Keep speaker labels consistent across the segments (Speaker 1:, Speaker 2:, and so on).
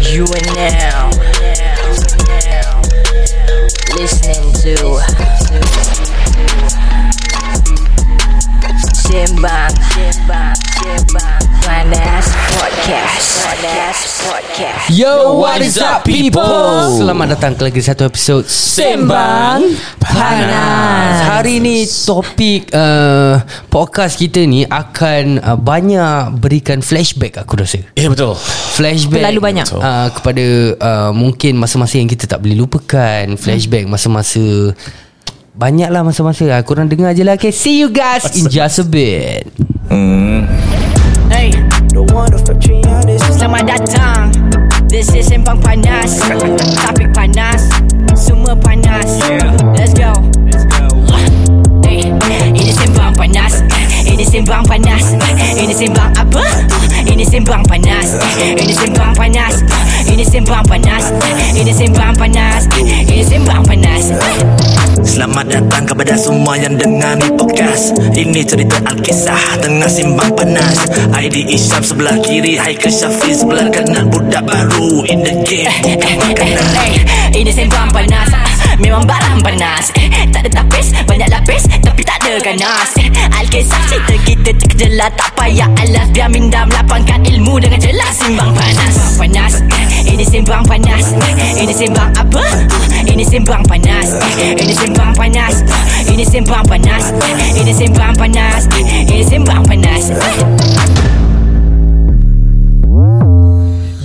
Speaker 1: You are now listening to Simbang Panas Podcast Panas Podcast
Speaker 2: Yo, what is up people?
Speaker 3: Selamat datang ke lagi satu episod
Speaker 2: Sembang Panas.
Speaker 3: Hari ni topik uh, podcast kita ni akan uh, banyak berikan flashback aku rasa.
Speaker 2: Ya betul
Speaker 3: Flashback
Speaker 4: Terlalu banyak.
Speaker 3: uh, Kepada uh, Mungkin masa-masa yang kita tak boleh lupakan Flashback masa-masa Banyak lah masa-masa uh, Korang dengar je lah Okay see you guys In just a bit
Speaker 1: Hey Selamat datang This is Sembang Panas Topik panas Semua panas Let's go Hey, Ini Sembang Panas Ini Sembang Panas Ini Sembang apa? Ini Sembang Panas Ini Sembang Panas Ini Sembang Panas Ini Sembang Panas Ini Sembang Panas
Speaker 5: Selamat datang kepada semua yang dengar ni podcast Ini cerita Alkisah tengah simbang panas ID Isyam sebelah kiri Haikal Syafiq sebelah kanan Budak baru in the game
Speaker 1: Eh,
Speaker 3: Eh,
Speaker 5: Bukan makanan
Speaker 1: Hey, eh. Ini Sembang Panas Ah, Memang barang panas Eh, Tak ada tapis Banyak lapis Tapi tak ada ganas Eh, Alkisah cerita kita terkejelah Tak payah alas Biar minda melapangkan ilmu Dengan jelas Simbang Panas Simbang Panas Eh, Ini Simbang Panas Eh, Ini Simbang apa? Ah, Ini Simbang Panas Eh, Ini Simbang Panas Ah, Ini Simbang Panas Eh, Ini Simbang Panas Eh, Ini Simbang Panas Eh,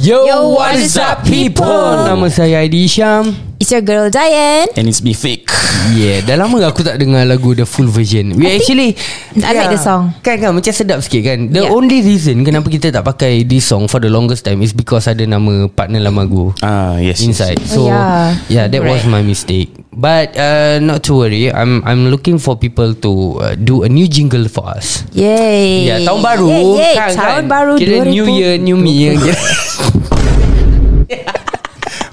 Speaker 3: Yo,
Speaker 4: Yo, what is up, people?
Speaker 3: Nama saya Aidy Isyam
Speaker 4: It's your girl Diane
Speaker 2: And it's be fake
Speaker 3: Yeah Dah lama aku tak dengar lagu The full version We actually
Speaker 4: I like the song.
Speaker 3: Kan kan macam sedap sikit kan The
Speaker 4: Yeah.
Speaker 3: only reason Kenapa kita tak pakai This song for the longest time Is because ada nama Partner lama aku
Speaker 2: Ah yes
Speaker 3: inside.
Speaker 4: yes.
Speaker 3: So yeah,
Speaker 4: Oh, Yeah.
Speaker 3: yeah that was my mistake. But uh, not to worry, I'm I'm looking for people to uh, do a new jingle for us.
Speaker 4: Yay
Speaker 3: Ya, yeah, tahun baru
Speaker 4: yeah, yeah.
Speaker 3: kan,
Speaker 4: Eh. Tahun
Speaker 3: kan?
Speaker 4: baru
Speaker 3: Kira
Speaker 4: 2000.
Speaker 3: new year, new me kira.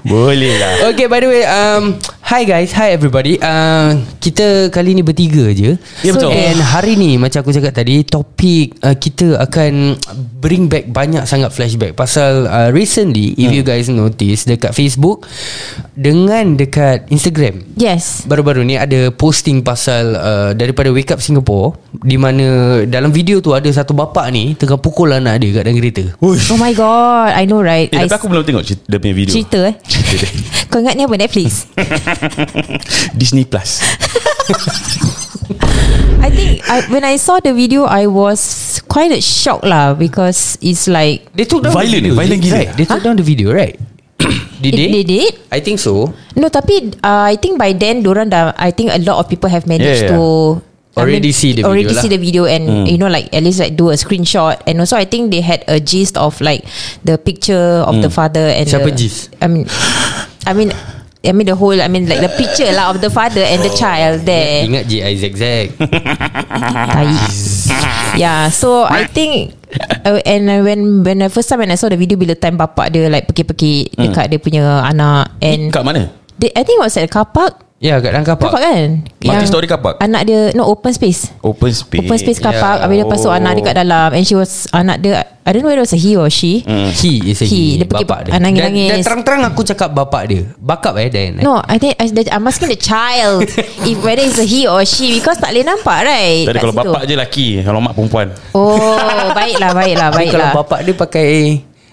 Speaker 2: Boleh lah
Speaker 3: Okay, by the way um, Hi guys, hi everybody uh, Kita kali ni bertiga je
Speaker 2: Ya, betul.
Speaker 3: And hari ni macam aku cakap tadi Topik uh, kita akan bring back banyak sangat flashback Pasal uh, recently
Speaker 2: Hmm.
Speaker 3: if you guys notice Dekat Facebook Dengan dekat Instagram
Speaker 4: Yes
Speaker 3: baru-baru ni ada posting pasal uh, daripada Wake Up Singapore di mana dalam video tu ada satu bapa ni tengah pukul anak dia kat dalam kereta.
Speaker 2: Uish.
Speaker 4: Oh my god I know right
Speaker 2: Eh,
Speaker 4: I
Speaker 2: tapi aku belum tengok cerita, dia punya video
Speaker 4: cerita eh
Speaker 2: Cerita dia.
Speaker 4: Kau ingat ni apa Netflix
Speaker 2: Disney Plus
Speaker 4: I think I, When I saw the video I was Quite a shock lah Because it's like
Speaker 3: They took down
Speaker 2: Violent
Speaker 3: the video.
Speaker 2: eh, violent gila.
Speaker 3: Right, they took down the video, right? did
Speaker 4: It-
Speaker 3: they?
Speaker 4: they did?
Speaker 3: I think so.
Speaker 4: No tapi uh, I think by then Diorang dah I think a lot of people have managed
Speaker 2: Yeah, yeah.
Speaker 4: to
Speaker 3: Already see the video
Speaker 4: already
Speaker 3: lah.
Speaker 4: see the video and you know like at least like do a screenshot and also I think they had a gist of like the picture of the father and
Speaker 3: Hmm. Siapa
Speaker 4: the,
Speaker 3: gist?
Speaker 4: I mean I mean I mean the whole I mean like the picture lah of the father and the child there
Speaker 3: Ingat J I Zack Zack.
Speaker 4: Tai. Yeah, so I think uh, and uh, when when I first time when I saw the video bila time bapak dia like
Speaker 3: Hmm.
Speaker 4: pekik-pekik dekat dia punya anak and
Speaker 2: Kat mana?
Speaker 4: they, I think it was at the car park.
Speaker 3: Ya, kat dalam
Speaker 4: Car
Speaker 3: kapak.
Speaker 4: park kan?
Speaker 2: Multi-storey car park?
Speaker 4: Anak dia no open space.
Speaker 2: Open space
Speaker 4: Open space car
Speaker 3: Yeah.
Speaker 4: park Habis lepas tu anak dia kat dalam And she was Anak dia I don't know whether it was a he or she
Speaker 3: Mm. Hmm. He is a
Speaker 4: He,
Speaker 3: he,
Speaker 4: dia pergi-
Speaker 3: bapak dia.
Speaker 4: ah, nangis-nangis.
Speaker 3: Dan, dan terang-terang aku cakap bapak dia. Bakap eh Dan.
Speaker 4: No I think I, I'm asking the child If whether it's a he or she Because tak boleh nampak right
Speaker 2: Tak ada
Speaker 4: kat
Speaker 2: kalau
Speaker 4: situ.
Speaker 2: bapak je laki Kalau mak perempuan
Speaker 4: Oh Baiklah baiklah
Speaker 3: Tapi
Speaker 4: baiklah
Speaker 3: kalau bapak dia pakai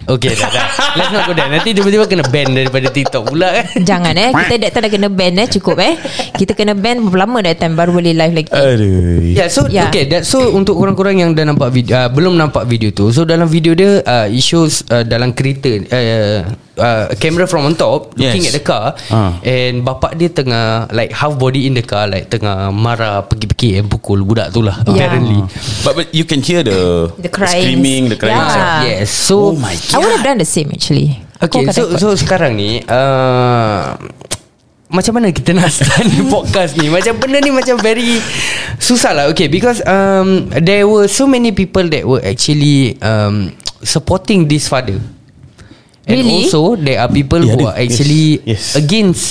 Speaker 3: Okay dah, dah. Let's not go there Nanti tiba-tiba kena ban Daripada TikTok pula kan
Speaker 4: Jangan eh Kita that time dah kena ban eh Cukup eh Kita kena ban Berapa lama that time Baru boleh live
Speaker 3: Uh,
Speaker 4: lagi
Speaker 2: Aduh
Speaker 3: Yeah, so yeah.
Speaker 4: Yeah.
Speaker 3: okay. That, so untuk korang-korang yang dah nampak video, uh, belum nampak video tu. So dalam video dia, uh, it shows uh, dalam kereta, uh, uh, camera from on top looking
Speaker 2: Yes.
Speaker 3: at the car,
Speaker 2: Ah.
Speaker 3: and bapak dia tengah like half body in the car, like tengah marah pergi-pergi and pukul budak tu lah.
Speaker 4: Yeah.
Speaker 3: Apparently,
Speaker 2: But, but you can hear the
Speaker 4: The crying.
Speaker 2: Screaming The crying
Speaker 4: Yeah.
Speaker 2: sound.
Speaker 4: Ah.
Speaker 3: yes. So
Speaker 2: Oh my
Speaker 4: I would have done the same actually
Speaker 3: Okay,
Speaker 4: Aku akan
Speaker 3: so
Speaker 4: record.
Speaker 3: so sekarang ni. Uh, macam mana kita nak start ni podcast ni Macam benda ni macam very Susah lah Okay because um, There were so many people That were actually um, Supporting this father And
Speaker 4: Really?
Speaker 3: also There are people
Speaker 2: Eh,
Speaker 3: Who
Speaker 2: ada.
Speaker 3: are actually
Speaker 2: Yes, yes.
Speaker 3: Against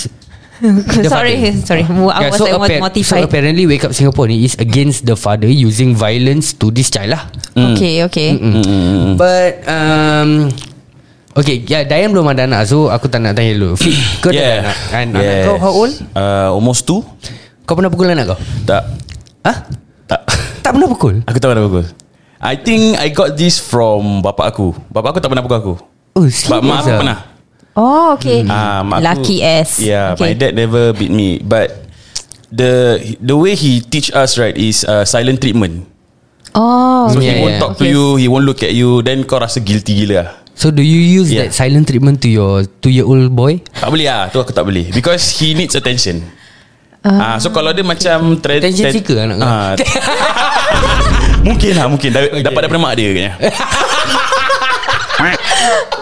Speaker 3: the
Speaker 4: Sorry
Speaker 3: father.
Speaker 4: Sorry I
Speaker 3: Yeah,
Speaker 4: was
Speaker 3: so,
Speaker 4: like
Speaker 3: appa- so
Speaker 4: mortified
Speaker 3: apparently Wake Up Singapore ni Is against the father Using Mm.
Speaker 4: Mm,
Speaker 3: violence to this child lah
Speaker 4: Okay okay
Speaker 3: But um, Okay yeah, Dayan belum ada anak So aku tak nak tanya dulu Fik Kau yeah. tak ada anak, anak
Speaker 2: Yes.
Speaker 3: Kau how old?
Speaker 2: Uh, almost two
Speaker 3: Kau pernah pukul anak kau?
Speaker 2: Tak
Speaker 3: Ha?
Speaker 2: Tak
Speaker 3: Tak pernah pukul?
Speaker 2: Aku tak pernah pukul I think I got this from Bapak aku Bapak aku tak pernah pukul aku
Speaker 3: Oh
Speaker 2: But mak aku
Speaker 3: ah?
Speaker 2: pernah
Speaker 4: Oh okay
Speaker 2: Ah, mak aku-
Speaker 4: Lucky ass
Speaker 2: Yeah okay. my dad never beat me But The the way he teach us right Is uh, silent treatment
Speaker 4: Oh
Speaker 2: So
Speaker 3: Yeah,
Speaker 2: yeah, he won't
Speaker 3: yeah.
Speaker 2: yeah. talk to you He won't look at you Then kau rasa guilty gila lah
Speaker 3: So do you use
Speaker 2: Yeah.
Speaker 3: that silent treatment to your two year old boy?
Speaker 2: Tak boleh lah Tu aku tak boleh Because he needs attention Ah, uh, so kalau dia macam tra-
Speaker 3: Attention
Speaker 2: tra-
Speaker 3: seeker anak kau?
Speaker 2: Ah. mungkin lah mungkin Dapat okay. dapat daripada mak dia kayaknya.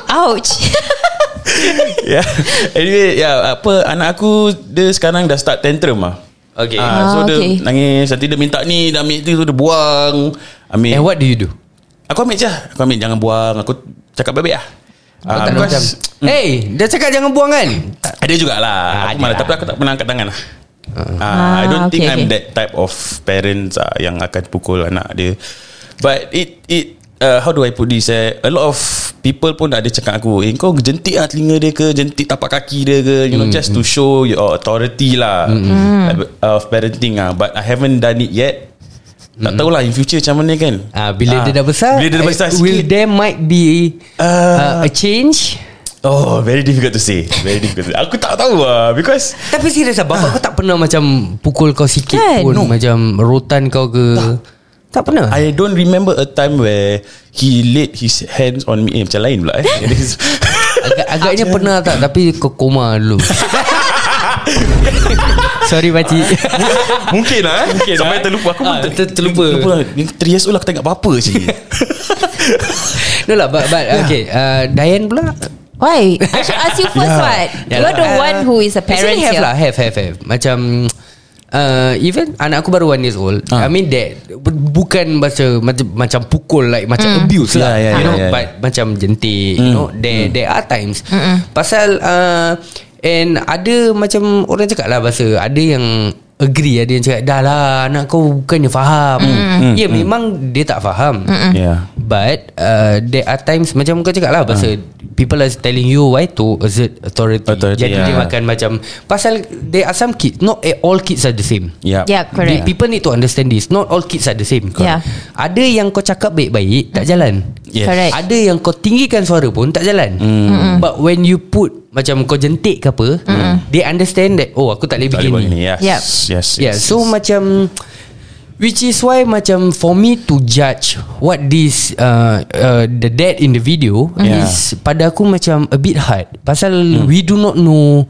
Speaker 4: Ouch
Speaker 2: yeah. Ya. Anyway, yeah, apa anak aku dia sekarang dah start tantrum ah.
Speaker 3: Okay.
Speaker 2: Ah, so
Speaker 4: Ah,
Speaker 2: dia
Speaker 4: okay.
Speaker 2: nangis, nanti dia minta ni, dia ambil tu, dia buang. Ambil.
Speaker 3: And Eh, what do
Speaker 2: Uh,
Speaker 3: you do?
Speaker 2: Aku ambil je. Aku ambil jangan buang. Aku cakap baik-baik lah.
Speaker 3: Kau
Speaker 2: Ah,
Speaker 3: tak
Speaker 2: because-
Speaker 3: macam Hey Dia cakap jangan buang kan
Speaker 2: Ada jugalah
Speaker 3: Ah,
Speaker 2: ah,
Speaker 3: ada
Speaker 2: aku malah,
Speaker 3: lah.
Speaker 2: Tapi aku tak pernah angkat tangan lah uh,
Speaker 4: Ah,
Speaker 2: I don't think
Speaker 4: okay,
Speaker 2: I'm
Speaker 4: okay.
Speaker 2: that type of parents uh, Yang akan pukul anak dia But it it uh, How do I put this eh? A lot of people pun ada cakap aku Eh kau jentik lah telinga dia ke Jentik tapak kaki dia ke You
Speaker 3: Mm.
Speaker 2: know just to show your authority lah mm. Of parenting lah But I haven't done it yet tak tahulah in future macam mana kan
Speaker 3: Mm. Ah, Bila
Speaker 2: Ah,
Speaker 3: dia dah besar
Speaker 2: Bila dia dah besar
Speaker 3: eh, Will
Speaker 2: sikit
Speaker 3: there might be
Speaker 2: Ah.
Speaker 3: uh, A change
Speaker 2: Oh very difficult to say Very difficult to say. Aku tak tahu lah Because
Speaker 3: Tapi serius lah Bapak kau tak pernah macam Pukul kau sikit
Speaker 4: Kan?
Speaker 3: pun
Speaker 4: No.
Speaker 3: Macam rotan kau ke Tak pernah
Speaker 2: I don't remember a time where he laid his hands on me. Eh, macam lain pula eh. It is-
Speaker 3: Agak, Agaknya pernah tak Tapi kau koma dulu Sorry pakcik
Speaker 2: Mungkin lah eh. Mungkin Sampai
Speaker 3: lah.
Speaker 2: terlupa. Aku pun
Speaker 3: Ah,
Speaker 2: ter-
Speaker 3: ter- terlupa.
Speaker 2: terlupa. lah. Yang 3 years old aku tak ingat apa-apa sih.
Speaker 3: No lah but, but okay uh, Diane pula
Speaker 4: Why? I should ask you first
Speaker 2: Yeah.
Speaker 4: what?
Speaker 3: Yeah
Speaker 4: You're
Speaker 3: lah.
Speaker 4: the one who is a parent
Speaker 3: Actually have
Speaker 4: here.
Speaker 3: lah Have have have Macam uh, Even anak aku baru one years old I
Speaker 2: Ah.
Speaker 3: mean that bu- Bukan macam Macam, macam pukul Like macam
Speaker 4: Mm.
Speaker 3: abuse
Speaker 2: Yeah,
Speaker 3: lah
Speaker 2: yeah,
Speaker 3: You
Speaker 2: yeah,
Speaker 3: know
Speaker 2: yeah, Mm.
Speaker 3: But macam jentik You know There there are times Pasal uh, And ada macam Orang cakap lah Bahasa Ada yang Agree ada yang cakap Dah lah Anak kau bukannya faham
Speaker 4: Mm.
Speaker 2: Mm.
Speaker 3: Ya memang Dia tak faham
Speaker 2: yeah.
Speaker 3: But uh, There are times Macam kau cakap lah Pasal People are telling you Why to exert authority,
Speaker 2: Hmm. Authority,
Speaker 3: Jadi dia
Speaker 2: yeah.
Speaker 3: makan macam Pasal There are some kids Not a- all kids are the same
Speaker 2: Yep.
Speaker 4: Yeah,
Speaker 3: Correct.
Speaker 4: correct.
Speaker 3: People need to understand this Not all kids are the same
Speaker 4: Correct. Yeah. Hmm.
Speaker 3: Ada yang kau cakap baik-baik Tak jalan
Speaker 2: Yes. Hmm.
Speaker 4: Correct.
Speaker 3: Ada yang kau tinggikan suara pun Tak jalan mm. But when you put Macam kau jentik ke apa
Speaker 4: Hmm.
Speaker 3: mm. They understand that Oh aku tak boleh
Speaker 2: Tak boleh buat
Speaker 3: begini
Speaker 2: gini. Yes.
Speaker 4: Yep.
Speaker 2: Yes.
Speaker 3: Yeah,
Speaker 2: yes.
Speaker 3: so macam which is why macam for me to judge what this uh, uh, the dad in the video
Speaker 2: Mm-hmm. Yeah. Mm.
Speaker 3: is pada aku macam a bit hard pasal we do not know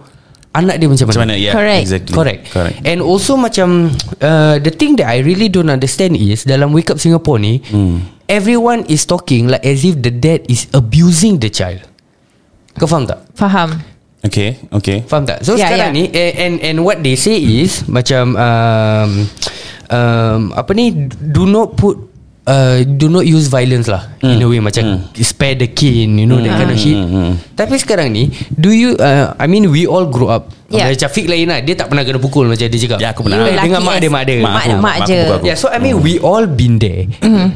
Speaker 3: anak dia macam mana.
Speaker 2: Macam mana? Yeah.
Speaker 4: Correct.
Speaker 2: Exactly.
Speaker 3: Correct.
Speaker 2: Correct.
Speaker 3: And also macam uh, the thing that I really don't understand is dalam Wake Up Singapore ni
Speaker 2: Mm.
Speaker 3: everyone is talking like as if the dad is abusing the child. Kau faham tak?
Speaker 4: Faham.
Speaker 2: Okay. Okay.
Speaker 3: Faham tak? So yeah,
Speaker 4: Yeah,
Speaker 3: sekarang yeah.
Speaker 4: yeah.
Speaker 3: ni eh, and and what they say is macam um, um, apa ni do not put uh, do not use violence lah mm.
Speaker 2: Hmm.
Speaker 3: in a way macam mm. spare the kin you know mm. that kind of shit. Mm. Tapi sekarang ni do you uh, I mean we all grow up.
Speaker 4: Yeah.
Speaker 3: Yeah. Macam Fik lain lah Dia tak pernah kena pukul Macam dia cakap
Speaker 2: Ya, aku pernah.
Speaker 3: Eh,
Speaker 4: You
Speaker 3: Dengan
Speaker 4: lucky
Speaker 3: mak
Speaker 4: ass.
Speaker 3: dia Mak dia
Speaker 4: Mak-
Speaker 2: aku,
Speaker 4: mak
Speaker 2: aku,
Speaker 4: je.
Speaker 2: bukan aku.
Speaker 3: Yeah, so I mean we all been there
Speaker 2: Mm-hmm.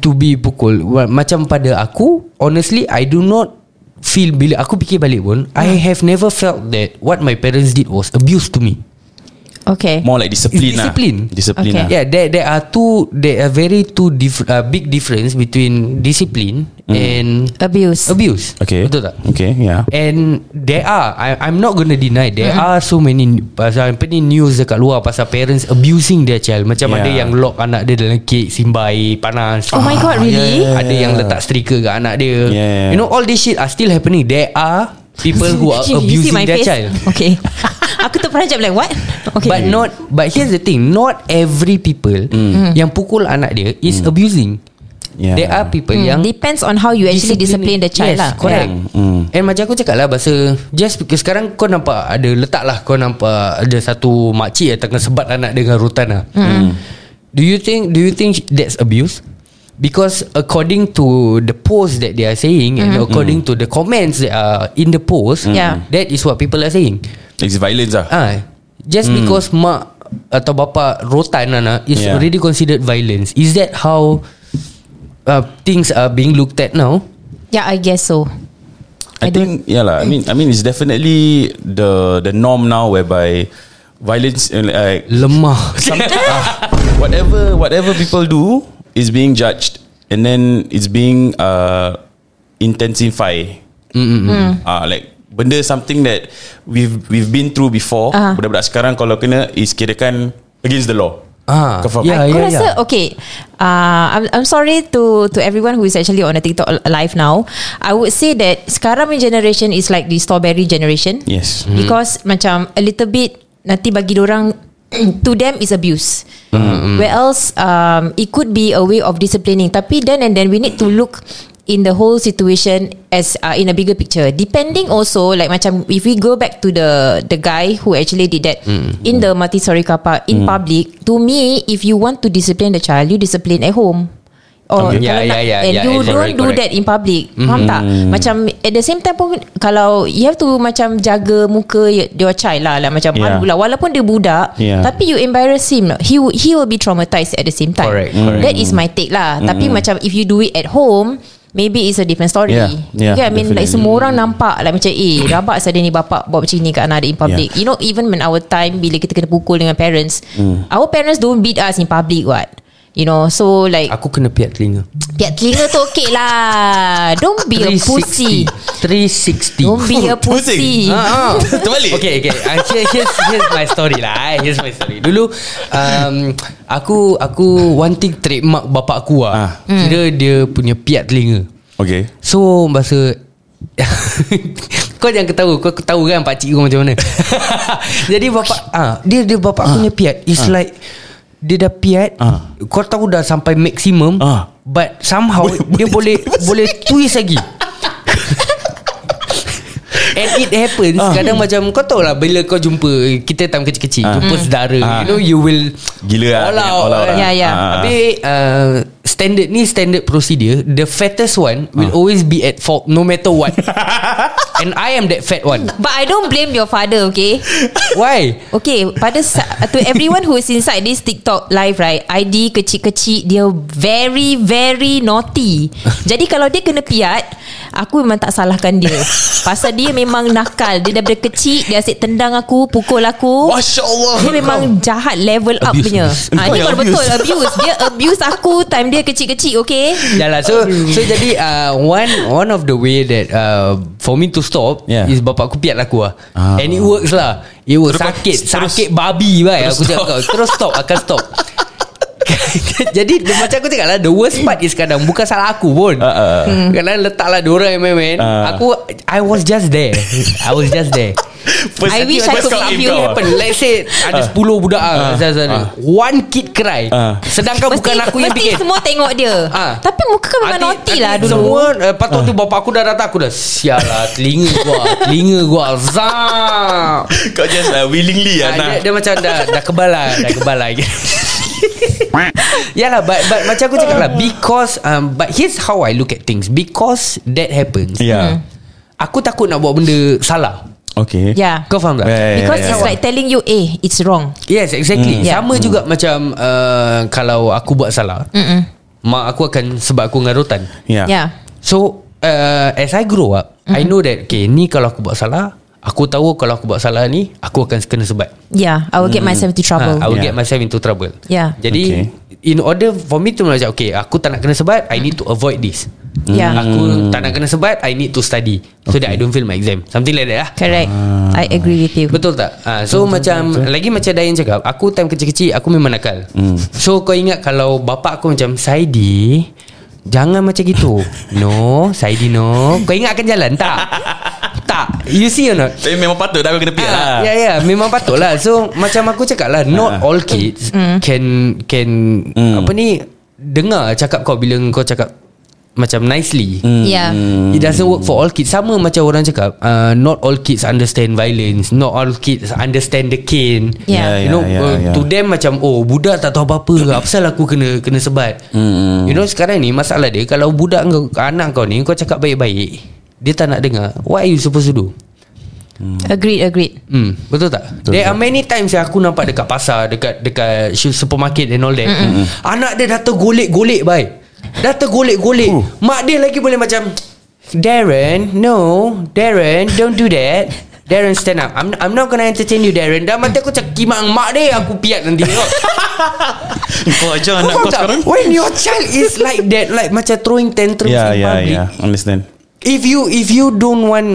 Speaker 3: to be pukul. Well, macam pada aku, honestly, I do not feel bila aku fikir balik pun, I have never felt that what my parents did was abuse to me.
Speaker 4: Okay.
Speaker 2: More like discipline,
Speaker 3: It's discipline.
Speaker 2: lah. Discipline
Speaker 4: Okay.
Speaker 2: lah.
Speaker 3: Yeah, there there are two there are very two dif- uh, big difference between discipline and
Speaker 4: Abuse.
Speaker 3: abuse.
Speaker 2: Mm. Okay.
Speaker 3: betul tak?
Speaker 2: Okay. Yeah.
Speaker 3: And there are I, I'm not gonna deny There mm-hmm. are so many Pasal apa ni news dekat luar Pasal parents abusing their child Macam yeah.
Speaker 2: Yeah.
Speaker 3: ada yang lock anak dia dalam kek Simbai Panas Ah,
Speaker 4: Oh my God, really?
Speaker 2: yeah, yeah,
Speaker 3: Ada
Speaker 2: yeah.
Speaker 3: yang letak striker kat anak dia
Speaker 2: Yeah.
Speaker 3: You know all this shit Are still happening There are People who are
Speaker 4: You see
Speaker 3: abusing
Speaker 4: my
Speaker 3: their
Speaker 4: face?
Speaker 3: child
Speaker 4: Okay. Aku terperanjat like what? Okay.
Speaker 3: But not But here's the thing Not every people mm. Yang pukul anak dia
Speaker 4: Mm.
Speaker 3: Is abusing
Speaker 2: Yeah.
Speaker 3: There are people
Speaker 4: Hmm,
Speaker 3: yang
Speaker 4: depends on how you actually discipline, the child
Speaker 3: yes,
Speaker 4: lah.
Speaker 3: correct yeah. and macam aku cakap lah bahasa just because sekarang kau nampak ada letak lah kau nampak ada satu makcik yang tengah sebat anak dengan rotan lah mm.
Speaker 4: Hmm.
Speaker 3: do you think do you think that's abuse Because according to the post that they are saying and according to the comments that are in the post,
Speaker 4: Mm-hmm. Yeah.
Speaker 3: that is what people are saying.
Speaker 2: It's violence lah.
Speaker 3: Ah, just because mak atau bapa rotan anak is
Speaker 2: Yeah.
Speaker 3: already considered violence. Is that how uh, things are being looked at now?
Speaker 4: Yeah, I guess so.
Speaker 2: I, I think yeah lah. I mean, I mean, it's definitely the the norm now whereby violence, uh, like,
Speaker 3: Lemah
Speaker 2: whatever whatever people do is being judged, and then it's being uh intensify.
Speaker 3: Hmm.
Speaker 2: Mm. Uh, like benda something that we've we've been through before.
Speaker 4: Ah.
Speaker 2: Budak-budak sekarang kalau kena is kirakan against the law.
Speaker 3: Ah,
Speaker 2: Kau faham?
Speaker 3: yeah.
Speaker 4: Aku rasa okay. Uh, I'm I'm sorry to to everyone who is actually on a TikTok live now. I would say that sekarang punya generation is like the strawberry generation.
Speaker 2: Yes.
Speaker 4: Because macam a little bit nanti bagi orang to them is abuse. Where else um, it could be a way of disciplining. Tapi then and then we need to look in the whole situation as uh, in a bigger picture. Depending also like macam if we go back to the the guy who actually did that in the multi-story car park in public. To me, if you want to discipline the child, you discipline at home. Or
Speaker 3: Okay. Yeah, yeah,
Speaker 4: kalau nak-
Speaker 3: yeah,
Speaker 4: and
Speaker 3: yeah,
Speaker 4: you
Speaker 3: correct,
Speaker 4: don't do
Speaker 3: correct.
Speaker 4: that in public mm-hmm.
Speaker 2: Mhm.
Speaker 4: Faham tak Macam at the same time pun Kalau you have to Macam jaga muka y- Your child lah, lah Macam
Speaker 2: Yeah.
Speaker 4: yeah. pula Walaupun dia budak
Speaker 2: Yeah.
Speaker 4: Tapi you embarrass him He will- he will be traumatized At the same time
Speaker 3: Correct, correct.
Speaker 4: That is my take lah
Speaker 2: Mm-hmm.
Speaker 4: Tapi macam If you do it at home Maybe it's a different story
Speaker 2: Yeah, yeah,
Speaker 4: Okay, I mean like
Speaker 2: definitely.
Speaker 4: Semua orang nampak Like macam Eh rabak saja ni bapak Buat macam ni kat anak dia in
Speaker 2: Yeah.
Speaker 4: public You know even when our time Bila kita kena pukul dengan parents
Speaker 2: Mm.
Speaker 4: Our parents don't beat us in public what You know So like
Speaker 3: Aku kena piat telinga
Speaker 4: Piat telinga tu okey lah Don't be a pussy
Speaker 3: 360
Speaker 4: Don't be a pussy
Speaker 2: Ha.
Speaker 3: Ah, ah.
Speaker 2: Terbalik.
Speaker 3: Okay okay uh, here, here's, here's my story lah eh. Here's my story Dulu um, Aku Aku One thing trademark bapak aku
Speaker 2: Ah.
Speaker 3: lah Kira dia punya piat telinga
Speaker 2: Okay.
Speaker 3: So bahasa Kau jangan ketawa Kau ketawa kan pakcik kau macam mana Jadi bapak ah, Dia dia bapak aku punya piat It's like Dia dah piat
Speaker 2: Ah.
Speaker 3: Kau tahu dah sampai maksimum
Speaker 2: Ah.
Speaker 3: But somehow Dia boleh Boleh twist lagi And it happens Kadang macam Kau tahu lah Bila kau jumpa Kita time kecil-kecil Jumpa saudara You know you will
Speaker 2: Gila lah,
Speaker 3: All out,
Speaker 2: all out lah.
Speaker 4: Ya, ya.
Speaker 2: Ah.
Speaker 3: Habis uh, standard ni standard procedure. The fattest one
Speaker 2: Ah.
Speaker 3: will always be at fault no matter what. And I am that fat one.
Speaker 4: But I don't blame your father okay
Speaker 3: Why?
Speaker 4: Okay pada sa- To everyone who is inside this TikTok live right ID kecil-kecil Dia very very naughty Jadi kalau dia kena piat Aku memang tak salahkan dia Pasal dia memang nakal Dia daripada kecil Dia asyik tendang aku Pukul aku
Speaker 2: Masya Allah.
Speaker 4: Dia memang jahat level up
Speaker 3: Abuse,
Speaker 4: punya
Speaker 3: abuse.
Speaker 2: Kau
Speaker 4: ha, Dia
Speaker 2: yang
Speaker 4: kalau
Speaker 2: abuse.
Speaker 4: betul abuse Dia abuse aku Time dia kecil-kecil okay
Speaker 3: Yalah Ya lah, so so jadi uh, one one of the way that uh, for me to stop
Speaker 2: Yeah.
Speaker 3: yeah. is bapak aku piat aku lah.
Speaker 2: Ah.
Speaker 3: And it works lah. It works
Speaker 2: Terus-
Speaker 3: sakit
Speaker 2: terus-
Speaker 3: sakit babi baik aku
Speaker 2: terus
Speaker 3: cakap
Speaker 2: stop.
Speaker 3: kau. Terus stop akan stop. Jadi the- macam aku cakap lah The worst part is kadang Bukan salah aku pun
Speaker 2: Ah, ah, ah.
Speaker 3: hmm. Kadang letaklah diorang yang main-main
Speaker 2: Ah.
Speaker 3: Aku I was just there I was just there
Speaker 2: First-
Speaker 4: I wish I
Speaker 2: first
Speaker 4: could
Speaker 2: come in
Speaker 4: make you
Speaker 2: kau.
Speaker 3: Happen. Let's say Ada 10 budak ah,
Speaker 2: ah.
Speaker 3: sana-sana. One kid cry
Speaker 2: Ah.
Speaker 3: Sedangkan bukan aku yang
Speaker 4: mesti
Speaker 3: bikin
Speaker 4: semua tengok dia
Speaker 3: Ah.
Speaker 4: Tapi muka kau memang
Speaker 3: Adik-
Speaker 4: naughty
Speaker 3: adik
Speaker 4: lah dulu
Speaker 3: Semua uh, Patut tu bapak aku dah datang Aku dah sial lah Telinga gua Telinga gua Zap
Speaker 2: Kau just uh, willingly
Speaker 3: Ah,
Speaker 2: lah
Speaker 3: dia,
Speaker 2: nak.
Speaker 3: dia macam dah Dah kebal lah Dah kebal lah Yalah but, but Macam aku cakap lah Because um, But here's how I look at things Because that happens
Speaker 2: Yeah.
Speaker 3: Aku takut nak buat benda Salah
Speaker 2: Okay.
Speaker 4: Yeah
Speaker 3: Kau faham tak?
Speaker 2: Yeah, yeah,
Speaker 4: Ya. Because
Speaker 2: yeah,
Speaker 4: it's like telling you Eh it's wrong
Speaker 3: Yes exactly
Speaker 4: Yeah.
Speaker 3: Sama juga macam uh, Kalau aku buat salah Mm-mm. Mak aku akan Sebab aku ngarutan
Speaker 2: Yeah.
Speaker 4: Yeah
Speaker 3: So uh, As I grow up mm-hmm. I know that Okay ni kalau aku buat salah Aku tahu kalau aku buat salah ni Aku akan kena sebat
Speaker 4: Yeah I will get myself into trouble
Speaker 3: ha, I will
Speaker 2: Yeah.
Speaker 3: yeah. get myself into trouble
Speaker 4: Yeah.
Speaker 3: Jadi
Speaker 2: Okay.
Speaker 3: okay. In order for me to macam Okay aku tak nak kena sebat I need to avoid this
Speaker 4: Yeah.
Speaker 3: Aku tak nak kena sebat I need to study So that I don't fail my exam Something like that lah
Speaker 4: Correct I agree with you
Speaker 3: Betul tak? Ha, so betul, macam betul, Lagi macam Dayan cakap Aku time kecil-kecil Aku memang nakal mm. So kau ingat Kalau bapak aku macam Saidi Jangan macam gitu No Saidi no Kau ingat akan jalan Tak Tak You see or not
Speaker 2: Tapi memang patut dah kau kena piat lah.
Speaker 3: Ah, Ya ya memang patut lah So macam aku cakap lah Not all kids Can Can
Speaker 2: Mm.
Speaker 3: Apa ni Dengar cakap kau Bila kau cakap Macam nicely
Speaker 2: Mm.
Speaker 4: Yeah
Speaker 3: It doesn't work for all kids Sama macam orang cakap uh, Not all kids understand violence Not all kids understand the cane
Speaker 4: Yeah.
Speaker 3: You know
Speaker 2: Yeah, yeah,
Speaker 3: uh,
Speaker 2: yeah.
Speaker 3: To them macam Oh budak tak tahu apa-apa ke Apa pasal aku kena kena sebat
Speaker 2: Hmm.
Speaker 3: You know sekarang ni Masalah dia Kalau budak kau, anak kau ni Kau cakap baik-baik Dia tak nak dengar What are you supposed to do?
Speaker 4: Agreed agreed
Speaker 3: Hmm, betul tak? Betul There are many times yang aku nampak dekat pasar, dekat dekat shoe- supermarket and all that. Mm-mm. Anak dia dah tergolek-golek baik. Dah tergolek-golek. Mak dia lagi boleh macam Darren, no, Darren, don't do that. Darren stand up. I'm I'm not gonna entertain you Darren. Dah mati aku cakap kimak mak dia aku piat nanti. Kau
Speaker 2: Kau ajar anak
Speaker 3: faham
Speaker 2: kau
Speaker 3: tak?
Speaker 2: sekarang
Speaker 3: When your child is like that, like macam throwing tantrums
Speaker 2: Ya
Speaker 3: in
Speaker 2: ya
Speaker 3: public.
Speaker 2: ya Understand
Speaker 3: If you if you don't want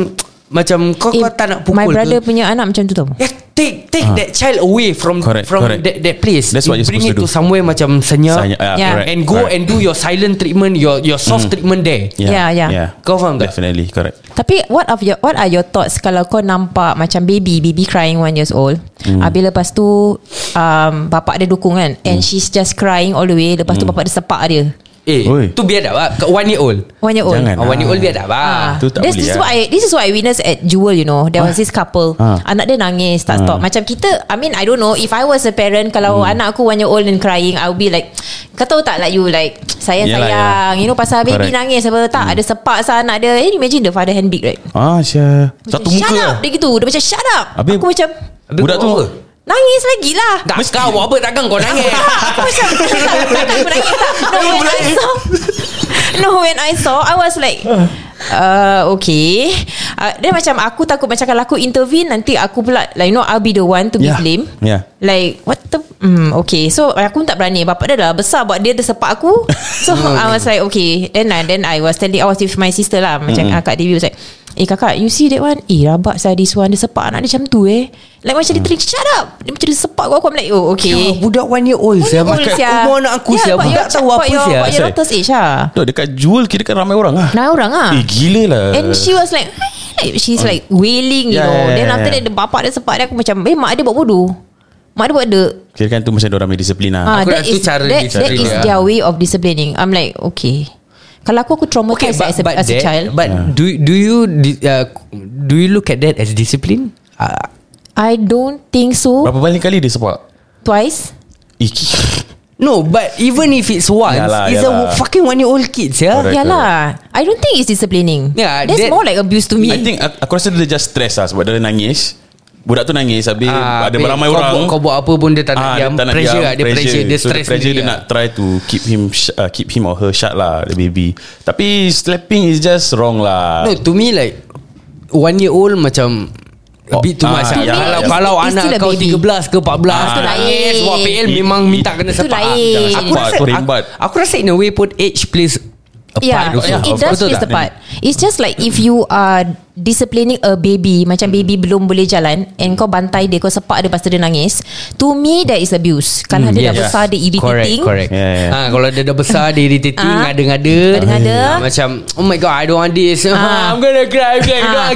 Speaker 3: macam kau kau
Speaker 4: Eh,
Speaker 3: tak nak pukul.
Speaker 4: My
Speaker 3: ke?
Speaker 4: brother punya anak macam tu tau
Speaker 3: Yeah, take take that child away from
Speaker 2: Ah. Correct,
Speaker 3: from
Speaker 2: correct.
Speaker 3: That, that place.
Speaker 2: That's what
Speaker 3: you
Speaker 2: you're
Speaker 3: bring it
Speaker 2: supposed to
Speaker 3: to
Speaker 2: do.
Speaker 3: somewhere macam senyap
Speaker 2: Sanya- ah,
Speaker 4: Yeah.
Speaker 2: correct,
Speaker 3: and go
Speaker 2: correct. Mm.
Speaker 3: and do your silent treatment, your your soft treatment there.
Speaker 4: Yeah, yeah.
Speaker 3: Kau faham tak?
Speaker 2: Definitely correct
Speaker 4: Tapi what of your what are your thoughts kalau kau nampak macam baby baby crying one years old.
Speaker 2: Mm.
Speaker 4: Hmm. Habis lepas tu um, bapak dia dukung kan and
Speaker 2: Mm.
Speaker 4: she's just crying all the way lepas tu bapak dia sepak dia.
Speaker 3: Eh,
Speaker 2: Oi.
Speaker 3: tu biar dah lah. Kat One year old.
Speaker 4: One year old.
Speaker 2: Jangan.
Speaker 3: Ah, one year old biar dah lah.
Speaker 4: Ah,
Speaker 2: Tu tak boleh
Speaker 4: this, this is
Speaker 2: lah.
Speaker 4: what I this is what I witnessed at Jewel you know. There was this couple.
Speaker 2: Ah. Hmm.
Speaker 4: Anak dia nangis tak stop. Macam kita I mean I don't know if I was a parent kalau anak aku one year old and crying I would be like kau tahu tak like you like sayang
Speaker 2: Yelah,
Speaker 4: sayang
Speaker 2: yelah.
Speaker 4: you know pasal baby
Speaker 2: Correct. Hmm.
Speaker 4: nangis apa tak ada sepak sah anak dia. Eh, imagine the father hand big right.
Speaker 2: Ah Syah
Speaker 4: Macam,
Speaker 2: Satu
Speaker 4: Shut
Speaker 2: muka
Speaker 4: up
Speaker 2: lah
Speaker 4: Dia gitu Dia macam shut up
Speaker 2: Habis-
Speaker 4: Aku macam
Speaker 3: Habis
Speaker 2: Budak
Speaker 3: kau
Speaker 2: tu
Speaker 3: apa?
Speaker 4: Nangis lagi lah
Speaker 3: Tak kau buat apa takkan kau nangis.
Speaker 4: Aku macam Takkan aku nangis tak No when I saw No when I saw I was like
Speaker 2: Ah.
Speaker 4: Uh, okay uh, Dia macam Aku takut macam Kalau aku intervene Nanti aku pula Like you know I'll be the one To
Speaker 2: Yeah.
Speaker 4: be blame
Speaker 2: Yeah.
Speaker 4: Like what the mm, Okay So aku pun tak berani Bapak dia dah besar Buat dia tersepak aku So I was like Okay Then I, then I was telling I was with my sister lah Macam mm-hmm. Kak Dewi was like Eh kakak You see that one Eh rabak saya this one Dia sepak anak dia macam tu eh Like macam
Speaker 2: Mm.
Speaker 4: dia tering Shut up Dia macam dia sepak aku Aku I'm like Oh
Speaker 3: Ah,
Speaker 4: okay
Speaker 3: budak one year old siapa? Ya, Umur anak aku siapa? Tak tahu apa
Speaker 4: What Ya, your
Speaker 3: siapa.
Speaker 2: Asal?
Speaker 4: daughter's age lah
Speaker 2: Duh, dekat jual kira kan ramai orang lah
Speaker 4: Nah orang ah.
Speaker 2: Eh gila lah
Speaker 4: And she was like "Hey," She's like wailing You
Speaker 2: Yeah,
Speaker 4: know
Speaker 2: yeah,
Speaker 4: Then
Speaker 2: yeah,
Speaker 4: after
Speaker 2: yeah.
Speaker 4: that The bapak dia sepak dia Aku macam Eh mak dia buat bodoh Mak dia buat dek
Speaker 2: Kira kan tu macam orang punya disiplin lah
Speaker 4: Ah,
Speaker 3: Aku
Speaker 4: that
Speaker 3: rasa
Speaker 4: is
Speaker 3: cara
Speaker 4: that,
Speaker 3: dia
Speaker 4: that
Speaker 3: cara
Speaker 4: is
Speaker 3: dia.
Speaker 4: their way of disciplining. I'm like, okay. Kalau aku aku traumatized as, a, as
Speaker 3: that-
Speaker 4: a child.
Speaker 3: But
Speaker 2: Ah.
Speaker 3: do do you di- uh, do you look at that as discipline?
Speaker 2: Ah.
Speaker 3: Uh,
Speaker 4: I don't think so.
Speaker 2: Berapa banyak kali dia sepak
Speaker 4: Twice.
Speaker 2: Eh ki-
Speaker 3: no, but even if it's once,
Speaker 2: Yalah,
Speaker 3: it's a
Speaker 2: yalah.
Speaker 3: fucking one year old kids, yeah.
Speaker 2: Correct,
Speaker 4: Yalah. Ya lah. I don't think it's disciplining.
Speaker 3: Yeah,
Speaker 4: That's
Speaker 3: that-
Speaker 4: more like abuse to me.
Speaker 2: I think aku, aku rasa dia just stress lah Sebab dia nangis Budak tu nangis Habis
Speaker 3: Ah,
Speaker 2: ada
Speaker 3: babe,
Speaker 2: ramai
Speaker 3: kau
Speaker 2: orang
Speaker 3: buat, Kau buat apa pun dia tak nak
Speaker 2: Ah,
Speaker 3: diam
Speaker 2: dia tak nak
Speaker 3: Pressure
Speaker 2: diam,
Speaker 3: lah Dia pressure Dia
Speaker 2: So,
Speaker 3: stress
Speaker 2: pressure dia nak try to keep him sh- uh, keep him or her shut lah the baby. Tapi slapping is just wrong lah.
Speaker 3: No to me like One year old macam A bit too
Speaker 2: Ah,
Speaker 3: much
Speaker 2: to
Speaker 3: lah
Speaker 2: me,
Speaker 3: Kalau,
Speaker 2: it's-
Speaker 3: kalau
Speaker 4: it's
Speaker 3: anak
Speaker 4: still a
Speaker 3: kau
Speaker 4: baby.
Speaker 3: 13 ke 14
Speaker 2: Ah,
Speaker 3: Ke
Speaker 4: itu
Speaker 3: nangis
Speaker 4: lain.
Speaker 3: Buat PL memang
Speaker 2: Itu
Speaker 3: minta kena
Speaker 4: Itu
Speaker 3: sepak
Speaker 4: lain.
Speaker 2: Jangan
Speaker 3: Aku
Speaker 2: sepak,
Speaker 3: rasa
Speaker 2: kau rembat.
Speaker 3: aku, aku rasa in a way pun Age plays A part
Speaker 4: Yeah,
Speaker 3: also
Speaker 4: it, it does
Speaker 3: Betul
Speaker 4: play
Speaker 3: tak?
Speaker 4: the part. It's just like if you are disciplining a baby, macam baby belum boleh jalan, and kau bantai dia, kau sepak dia pasal dia nangis. To me, that is abuse. Kalau
Speaker 2: Hmm,
Speaker 4: dia dah
Speaker 2: yes.
Speaker 4: besar, dia
Speaker 3: Correct
Speaker 4: irritating.
Speaker 3: correct.
Speaker 2: Yeah, yeah.
Speaker 3: Ha, Kalau dia dah besar Dia irritating
Speaker 4: Ah.
Speaker 3: Ngada-ngada
Speaker 4: Ngada-ngada.
Speaker 3: Ah, Macam Oh my god I don't want this
Speaker 4: Ah.
Speaker 3: I'm gonna cry I'm
Speaker 4: Ah,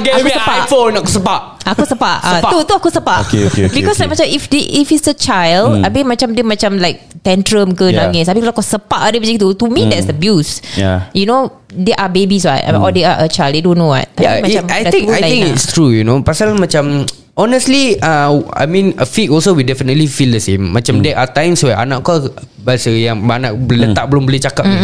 Speaker 3: gonna get
Speaker 4: aku
Speaker 3: me
Speaker 4: sepak.
Speaker 3: iPhone Aku sepak
Speaker 4: Aku sepak. Ah,
Speaker 3: Sepak.
Speaker 4: tu tu aku sepak.
Speaker 2: Okay, okay, okay,
Speaker 4: Because like
Speaker 2: okay.
Speaker 4: macam if dia if it's a child, hmm. habis macam dia macam like tantrum ke
Speaker 2: Yeah. Hmm.
Speaker 4: nangis. Habis kalau kau sepak dia macam gitu, to me that's abuse.
Speaker 2: Yeah. Hmm.
Speaker 4: You know, they are babies what or they are a child, they don't know what. Tapi
Speaker 3: Yeah, it, I
Speaker 4: dah
Speaker 3: think I
Speaker 4: tua lain
Speaker 3: think
Speaker 4: lah.
Speaker 3: it's true, you know. Pasal macam honestly, uh, I mean, Afiq also we definitely feel the same.
Speaker 2: Hmm.
Speaker 3: Macam there are times where anak kau bahasa yang anak letak belum boleh cakap, ni.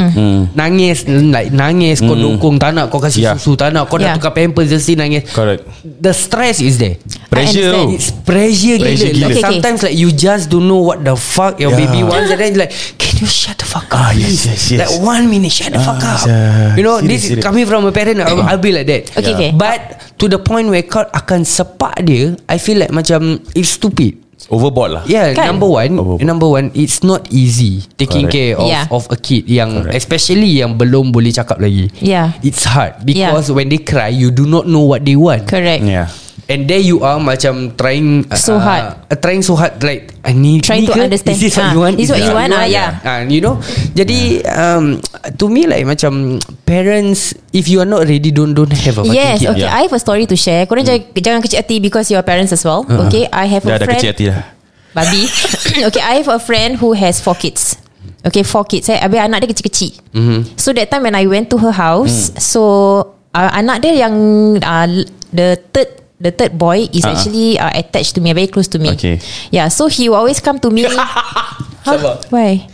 Speaker 3: nangis, like nangis, kau dukung tak nak, kau kasih
Speaker 2: Hmm. Yeah.
Speaker 3: susu tak nak, kau
Speaker 4: Yeah.
Speaker 3: nak tukar pampers mesti nangis.
Speaker 2: Correct.
Speaker 3: The stress is there.
Speaker 2: Pressure tu.
Speaker 4: I understand.
Speaker 3: It's pressure, gila.
Speaker 2: Pressure gila.
Speaker 3: Like
Speaker 4: Okay, okay.
Speaker 3: sometimes like you just don't know what the fuck your
Speaker 2: Yeah.
Speaker 3: baby wants, and then like, can you shut the fuck up?
Speaker 2: Ah, yes,
Speaker 3: please?
Speaker 2: yes, yes.
Speaker 3: Like one minute, shut the
Speaker 2: Ah,
Speaker 3: fuck up.
Speaker 2: yeah.
Speaker 3: You know,
Speaker 2: Serious,
Speaker 3: this is
Speaker 2: serious.
Speaker 3: coming from a parent. I'll, I'll be like that.
Speaker 4: Okay, okay.
Speaker 3: But to the point where kau akan sepak dia, I feel like macam it's stupid.
Speaker 2: Overboard lah.
Speaker 3: Yeah,
Speaker 4: Kan?
Speaker 3: number one,
Speaker 2: Overboard.
Speaker 3: number one, it's not easy taking care
Speaker 2: Correct.
Speaker 3: of
Speaker 4: Yeah.
Speaker 3: of a kid yang
Speaker 2: Correct.
Speaker 3: especially yang belum boleh cakap lagi.
Speaker 4: Yeah.
Speaker 3: it's hard
Speaker 4: Yeah.
Speaker 3: because when they cry, you do not know what they want.
Speaker 4: correct.
Speaker 2: Yeah.
Speaker 3: And there you are macam trying uh,
Speaker 4: So hard.
Speaker 3: uh, Trying so hard like uh, ni, ni
Speaker 4: Trying to
Speaker 3: ke?
Speaker 4: understand.
Speaker 3: Is this what
Speaker 4: Ah,
Speaker 3: you want?
Speaker 4: this what you
Speaker 3: that
Speaker 4: want? Ah, yeah.
Speaker 3: Ah, You know Jadi um, To me like macam Parents If you are not ready Don't don't have a fucking
Speaker 4: Yes,
Speaker 3: kid
Speaker 4: okay.
Speaker 2: Yeah.
Speaker 4: I have a story to share. Korang jangan, jangan kecil hati because you are parents as well. Okay, I have
Speaker 2: Hmm. Uh-huh. Dah
Speaker 4: a
Speaker 2: ada
Speaker 4: friend.
Speaker 2: kecil hati dah.
Speaker 4: Babi Okay I have a friend Who has four kids Okay four kids eh. Habis anak dia kecil-kecil mm-hmm. So that time When I went to her
Speaker 2: Hmm.
Speaker 4: house mm. So uh, Anak dia yang uh, The third The third boy Is
Speaker 2: Ah, ah.
Speaker 4: uh-huh. actually uh, Attached to me Very close to me
Speaker 2: Okay.
Speaker 4: Yeah so he will always come to me huh? Why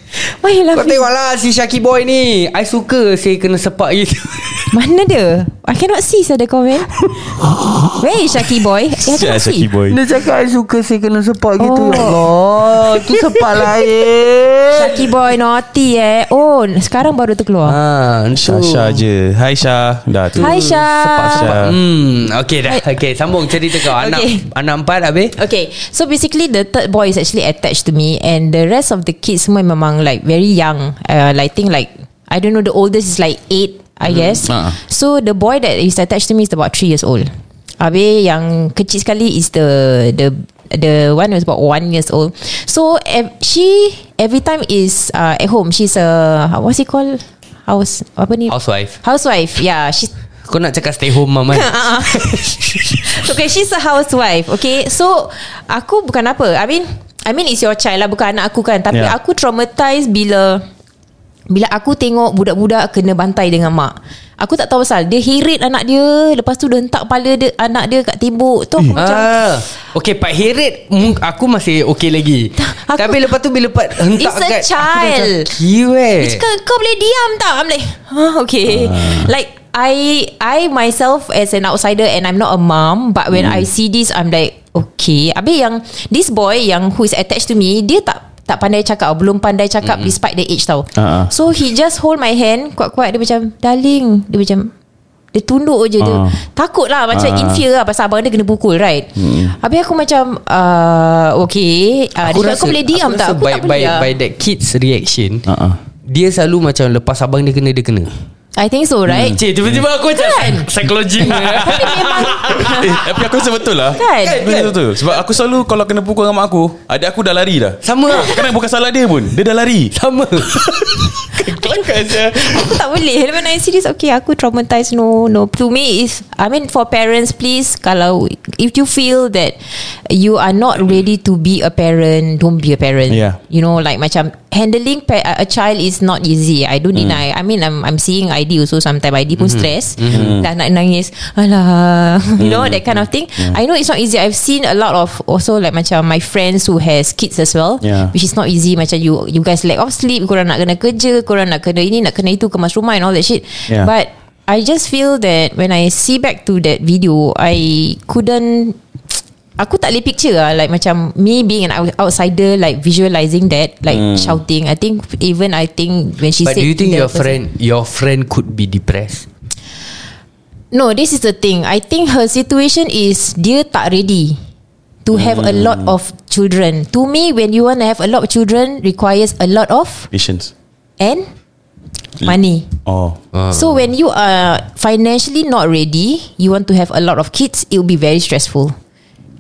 Speaker 4: Why you
Speaker 3: Kau
Speaker 4: laughing
Speaker 3: tengok lah Si Syaki boy ni I suka Saya kena sepak gitu
Speaker 4: Mana dia I cannot see Saya the comment Where is Shaki boy eh, I cannot see
Speaker 2: boy.
Speaker 3: Dia cakap I suka Saya kena sepak gitu
Speaker 4: Oh.
Speaker 3: Ya Allah Tu sepak lain
Speaker 4: Shaki boy naughty eh Oh tahun Sekarang baru terkeluar
Speaker 3: Ah, tu.
Speaker 2: Syah je Hai Syah Dah tu
Speaker 4: Hai
Speaker 3: Sepak,
Speaker 4: Syah
Speaker 3: sepak.
Speaker 2: Syah.
Speaker 3: Hmm, okay dah. Okay, sambung cerita kau. Anak
Speaker 4: Okay.
Speaker 3: anak empat habis?
Speaker 4: Okay So basically the third boy Is actually attached to me And the rest of the kids Semua memang like Very young uh, like, I think like I don't know The oldest is like eight I guess
Speaker 2: Ah.
Speaker 4: So the boy that is attached to me Is about three years old Habis yang kecil sekali Is the The the one who's about one years old So ev- she Every time is uh, At home She's a What's it called House Apa ni
Speaker 3: Housewife.
Speaker 4: Housewife Yeah She's
Speaker 3: Kau nak cakap stay home kan? mama.
Speaker 4: Ah, Okay she's a housewife Okay so Aku bukan apa I mean I mean it's your child lah Bukan anak aku kan Tapi
Speaker 2: Yeah.
Speaker 4: yeah. aku traumatized bila Bila aku tengok Budak-budak kena bantai dengan mak Aku tak tahu pasal Dia heret anak dia Lepas tu dia hentak kepala dia, Anak dia kat tembok Tu aku macam
Speaker 3: Ah, okay Pak Heret mung- Aku masih okay lagi
Speaker 4: aku-
Speaker 3: Tapi lepas tu bila Pak hentak
Speaker 4: It's a
Speaker 3: kat
Speaker 4: child.
Speaker 3: Aku dah macam kiwe
Speaker 4: Dia cakap kau boleh diam tak I'm like huh, Okay
Speaker 3: Ah.
Speaker 4: Like I I myself as an outsider And I'm not a mom But when
Speaker 3: Hmm.
Speaker 4: I see this I'm like Okay Habis yang This boy yang Who is attached to me Dia tak tak pandai cakap Belum pandai cakap
Speaker 3: Hmm.
Speaker 4: mm-hmm. Despite the age tau
Speaker 2: Ah, ah.
Speaker 4: So he just hold my hand Kuat-kuat Dia macam Darling Dia macam Dia tunduk je dia
Speaker 2: Ah.
Speaker 4: Takut lah Macam
Speaker 2: Ah.
Speaker 4: in fear lah Pasal abang dia kena pukul right mm. Habis aku macam uh, Okay uh, Dia cakap kau boleh diam
Speaker 3: Hmm. aku
Speaker 4: tak
Speaker 3: rasa
Speaker 4: Aku
Speaker 3: by,
Speaker 4: tak boleh
Speaker 3: by,
Speaker 4: lah."
Speaker 3: by that kids reaction
Speaker 2: Ah, ah.
Speaker 3: Dia selalu macam Lepas abang dia kena Dia kena
Speaker 4: I think so right
Speaker 3: Cik tiba-tiba aku macam
Speaker 4: Kan?
Speaker 3: Psikologi
Speaker 4: Tapi memang
Speaker 2: eh, Tapi aku rasa betul lah
Speaker 4: Kan?
Speaker 2: Aku rasa betul Sebab aku selalu Kalau kena pukul dengan mak aku Adik aku dah lari dah
Speaker 3: Sama lah
Speaker 2: Kan bukan salah dia pun Dia dah lari
Speaker 3: Sama
Speaker 2: Kelakar saya
Speaker 4: Aku tak boleh When I see this Okay aku traumatized No no To me is I mean for parents please Kalau If you feel that You are not ready To be a parent Don't be a parent
Speaker 2: Yeah.
Speaker 4: You know like macam Handling pa- a child Is not easy I
Speaker 2: Mm.
Speaker 4: don't deny I mean I'm, I'm seeing ID also Sometimes ID
Speaker 2: Mm-hmm.
Speaker 4: pun stress Dah nak nangis Alah You know that kind of thing
Speaker 2: Mm.
Speaker 4: I know it's not easy I've seen a lot of Also like macam My friends who has kids as well
Speaker 2: Yeah.
Speaker 4: Which is not easy Macam you you guys lack of sleep Korang nak kena kerja Korang nak kena ini Nak kena itu Kemas rumah and all that shit
Speaker 2: Yeah.
Speaker 4: But I just feel that When I see back to that video I couldn't Aku tak boleh picture lah Like macam Me being an out- outsider Like visualising that Like shouting I think Even I think When she
Speaker 3: But
Speaker 4: said
Speaker 3: do you think
Speaker 4: to the
Speaker 3: your
Speaker 4: person-
Speaker 3: friend Your friend could be depressed
Speaker 4: No, this is the thing. I think her situation is dia tak ready to have a lot of children. To me, when you want to have a lot of children, requires a lot of
Speaker 2: Patience
Speaker 4: and money.
Speaker 2: Oh
Speaker 4: So when you are financially not ready, you want to have a lot of kids, it will be very stressful.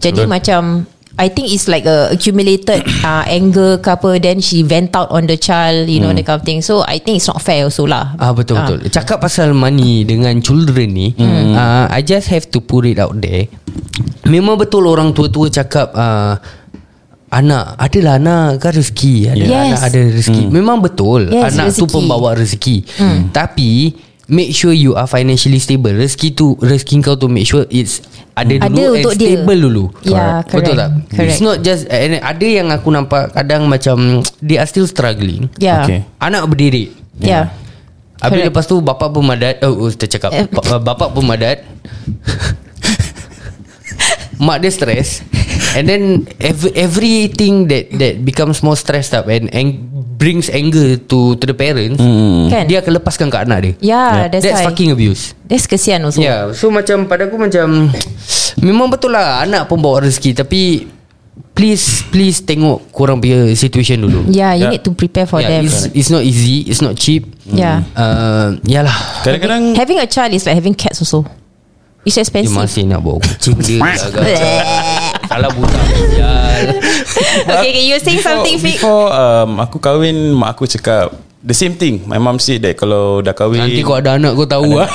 Speaker 4: Jadi macam I think it's like a accumulated uh, anger ke apa then she vent out on the child, you know
Speaker 2: Hmm.
Speaker 4: that kind of thing. So I think it's not fair also lah.
Speaker 3: Ah betul betul. Cakap pasal money dengan children ni, hmm. uh, I just have to put it out there. Memang betul orang tua-tua cakap uh, anak, adalah anak kan rezeki, ada
Speaker 4: Yes.
Speaker 3: anak ada rezeki. Hmm. Memang betul.
Speaker 4: Yes,
Speaker 3: anak tu
Speaker 4: rezeki.
Speaker 3: pembawa rezeki. Hmm. Tapi make sure you are financially stable. Rezeki tu rezeki kau tu make sure it's ada dulu
Speaker 4: Hmm. Ada
Speaker 3: and
Speaker 4: untuk dia.
Speaker 3: stable dulu.
Speaker 4: Ya, correct.
Speaker 3: Betul tak?
Speaker 4: Correct.
Speaker 3: It's not just and ada yang aku nampak kadang macam they are still struggling.
Speaker 4: Yeah.
Speaker 2: Okay.
Speaker 3: Anak berdiri.
Speaker 4: Yeah.
Speaker 3: Habis
Speaker 4: Correct.
Speaker 3: lepas tu bapak pun madat Oh, oh tercakap
Speaker 4: Eh.
Speaker 3: ba- Bapak pun madat Mak dia stress And then ev- Everything that that becomes more stressed up And, and brings anger to to the parents
Speaker 2: Hmm.
Speaker 4: Kan?
Speaker 3: Dia akan lepaskan kat anak dia
Speaker 4: Yeah, that's,
Speaker 3: That's
Speaker 4: why.
Speaker 3: fucking abuse
Speaker 4: That's kesian also.
Speaker 3: so, Yeah So macam pada aku macam Memang betul lah Anak pun bawa rezeki Tapi Please Please tengok Korang punya situation dulu
Speaker 4: Yeah, you
Speaker 2: Yeah. Hmm.
Speaker 4: need to prepare for
Speaker 3: yeah,
Speaker 4: them.
Speaker 3: it's, it's not easy It's not cheap
Speaker 4: Yeah.
Speaker 3: uh, Yalah
Speaker 2: Kan Kadang-kadang
Speaker 4: Having a child is like having cats also. It's
Speaker 3: Dia
Speaker 4: expensive.
Speaker 3: masih nak bawa kucing dia Salah budak
Speaker 4: okay, okay, you're saying something
Speaker 2: before,
Speaker 4: fake.
Speaker 2: before um, aku kahwin Mak aku cakap The same thing My mom said that Kalau dah kahwin
Speaker 3: Nanti kau ada anak kau tahu lah